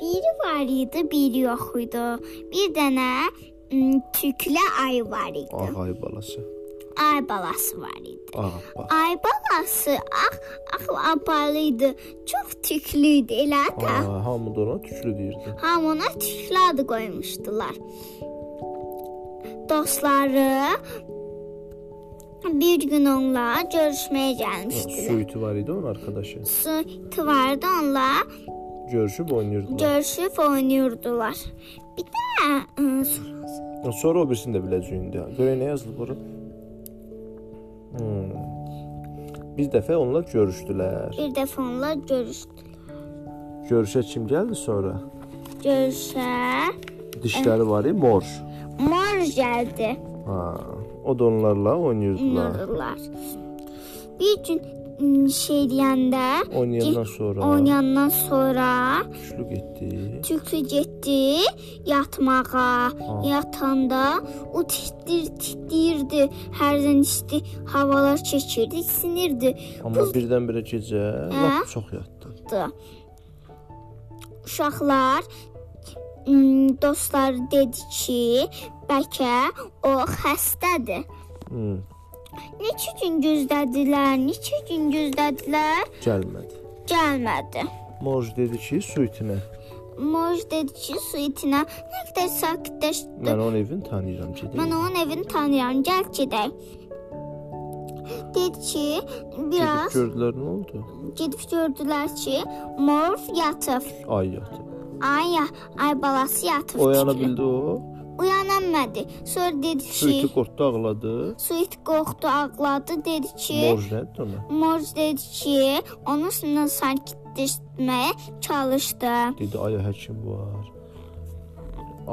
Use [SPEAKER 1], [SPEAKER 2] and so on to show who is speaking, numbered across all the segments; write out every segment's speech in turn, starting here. [SPEAKER 1] biri var idi, biri yox idi. Bir dənə m, tüklə ay var idi.
[SPEAKER 2] Ağ ay balası. Ah,
[SPEAKER 1] Ay balası var idi.
[SPEAKER 2] Ağ bax.
[SPEAKER 1] Ay balası ax ax apalı idi. Çox tüklü idi elə də.
[SPEAKER 2] Ha, hamı da ona tüklü deyirdi.
[SPEAKER 1] Hamına tüklü adı qoymuşdular. Dostları bir gün onunla görüşməyə gəlmişdilər.
[SPEAKER 2] Suiti var idi onun arkadaşı.
[SPEAKER 1] Su vardı onunla
[SPEAKER 2] Görüşüb oynayırdılar.
[SPEAKER 1] görüşüb oynayırdılar. Bir də ıı,
[SPEAKER 2] Sonra o birisini də biləcəyində. Görək nə yazılıb bura. Hmm. Bir dəfə onunla görüşdülər.
[SPEAKER 1] bir dəfə onunla görüşdü.
[SPEAKER 2] Görüşə kim gəldi sonra?
[SPEAKER 1] Görüşə
[SPEAKER 2] Dişləri var, idi, mor.
[SPEAKER 1] mor gəldi.
[SPEAKER 2] Ha, o da onlarla oynayırdılar.
[SPEAKER 1] oynayırlar. Bir gün m, şey deyəndə
[SPEAKER 2] Oynayandan sonra
[SPEAKER 1] oynayandan sonra
[SPEAKER 2] güclü getdi.
[SPEAKER 1] tüklü getdi yatmağa. Yatanda o titrəyir, titrəyirdi. Hərdən isti havalar keçirdi, sinirdi.
[SPEAKER 2] Amma birdən-birə gecə lap çox yatdı.
[SPEAKER 1] çıxdı. Uşaqlar m, dostları dedi ki, bəlkə o xəstədir.
[SPEAKER 2] Hmm,
[SPEAKER 1] Neçə gün gözlədilər, neçə gün gözlədilər,
[SPEAKER 2] gəlmədi.
[SPEAKER 1] gəlmədi.
[SPEAKER 2] Morj dedi ki, suitinə.
[SPEAKER 1] Moj dedi ki, su itinə nə qədər sakitləşdi.
[SPEAKER 2] Mən onun evini tanıyıram gedin.
[SPEAKER 1] Mən onun evini tanıyıram, gəl gedək. Dedi ki,
[SPEAKER 2] Gedib
[SPEAKER 1] biraz
[SPEAKER 2] gördülər nə oldu?
[SPEAKER 1] gedib gördülər ki, morf yatıb.
[SPEAKER 2] Ay yatıb.
[SPEAKER 1] Ay, ya- ay balası yatıb.
[SPEAKER 2] Oyana
[SPEAKER 1] tikilib.
[SPEAKER 2] bildi o.
[SPEAKER 1] Uyanamadı. Sonra dedi ki,
[SPEAKER 2] Suiti qorxdu ağladı.
[SPEAKER 1] Suit qorxdu, ağladı, dedi ki,
[SPEAKER 2] Morj nədir ona?
[SPEAKER 1] Morz dedi ki, onun üstündən sakitləşməyə çalışdı.
[SPEAKER 2] Dedi ay həkim var.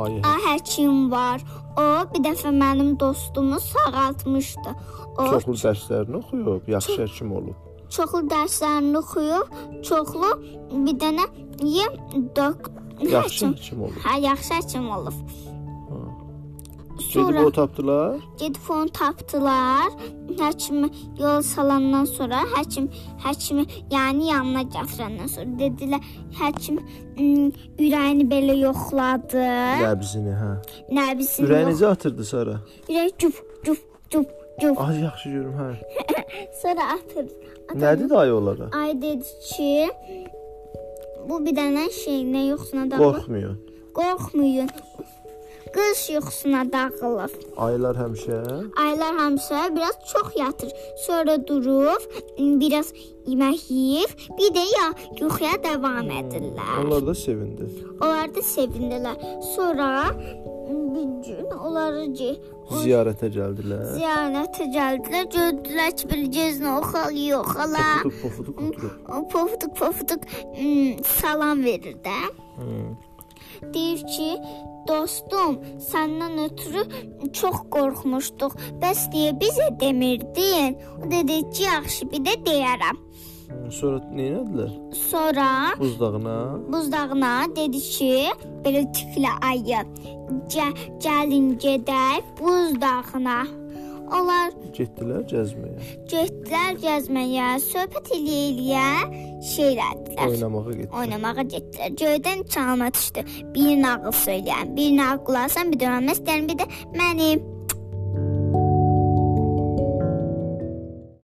[SPEAKER 2] Ay hə-
[SPEAKER 1] A həkim var. O bir dəfə mənim dostumu sağaltmışdı. O
[SPEAKER 2] çoxlu dərslərini oxuyub, yaxşı həkim olub.
[SPEAKER 1] çoxlu dərslərini oxuyub, çoxlu bir dənə yem dok
[SPEAKER 2] Yaxşı həkim olub.
[SPEAKER 1] Hə, yaxşı həkim olub.
[SPEAKER 2] Gedib
[SPEAKER 1] Sonra
[SPEAKER 2] o tapdılar.
[SPEAKER 1] gedib onu tapdılar. Həkimi yol salandan sonra həkim həkimi yəni yanına gətirəndən sonra dedilər həkim "M, ürəyini belə yoxladı.
[SPEAKER 2] Nəbzini hə.
[SPEAKER 1] Nəbisini yox-
[SPEAKER 2] Ürəyinizi atırdı Sara.
[SPEAKER 1] ürək cuf cuf cuf cuf.
[SPEAKER 2] Ay yaxşı görüm hə.
[SPEAKER 1] Sonra atır.
[SPEAKER 2] Nədir dayı onlara?
[SPEAKER 1] Ay dedi ki bu bir dənə şey nə yoxsuna dağılır.
[SPEAKER 2] Qorxmuyor.
[SPEAKER 1] Qorxmayın. Qış yuxusuna dağılır.
[SPEAKER 2] Aylar həmişə
[SPEAKER 1] Aylar həmişə biraz çox yatır. Sonra durur, biraz yemək yeyir, bir də ya yuxuya davam edirlər.
[SPEAKER 2] onlar da sevindi.
[SPEAKER 1] Onlar da sevindilər. Sonra bir gün onları ge-
[SPEAKER 2] Ziyarətə gəldilər.
[SPEAKER 1] ziyarətə gəldilər, gördülər ki, bir gezni oxal yoxala.
[SPEAKER 2] Pofuduk pofuduk oturub.
[SPEAKER 1] O pofuduk pofuduk ım, salam verir də. Deyir ki, dostum, səndən ötürü çox qorxmuşduq. Bəs niyə bizə demirdin? O dedi ki, yaxşı, bir də deyərəm.
[SPEAKER 2] Sonra neynədilər?
[SPEAKER 1] Sonra
[SPEAKER 2] Buzdağına
[SPEAKER 1] buzdağına dedi ki, belə tüklə ayı. Gə, gəlin gedək buzdağına. Onlar
[SPEAKER 2] getdilər gəzməyə.
[SPEAKER 1] getdilər gəzməyə, söhbət eləyə-eləyə şey elədilər.
[SPEAKER 2] Oynamağa getdilər.
[SPEAKER 1] oynamağa getdilər. Göydən çalma düşdü. Bir nağıl söyləyən, bir nağıl qulasan, bir dönməz, deyən bir də mənim.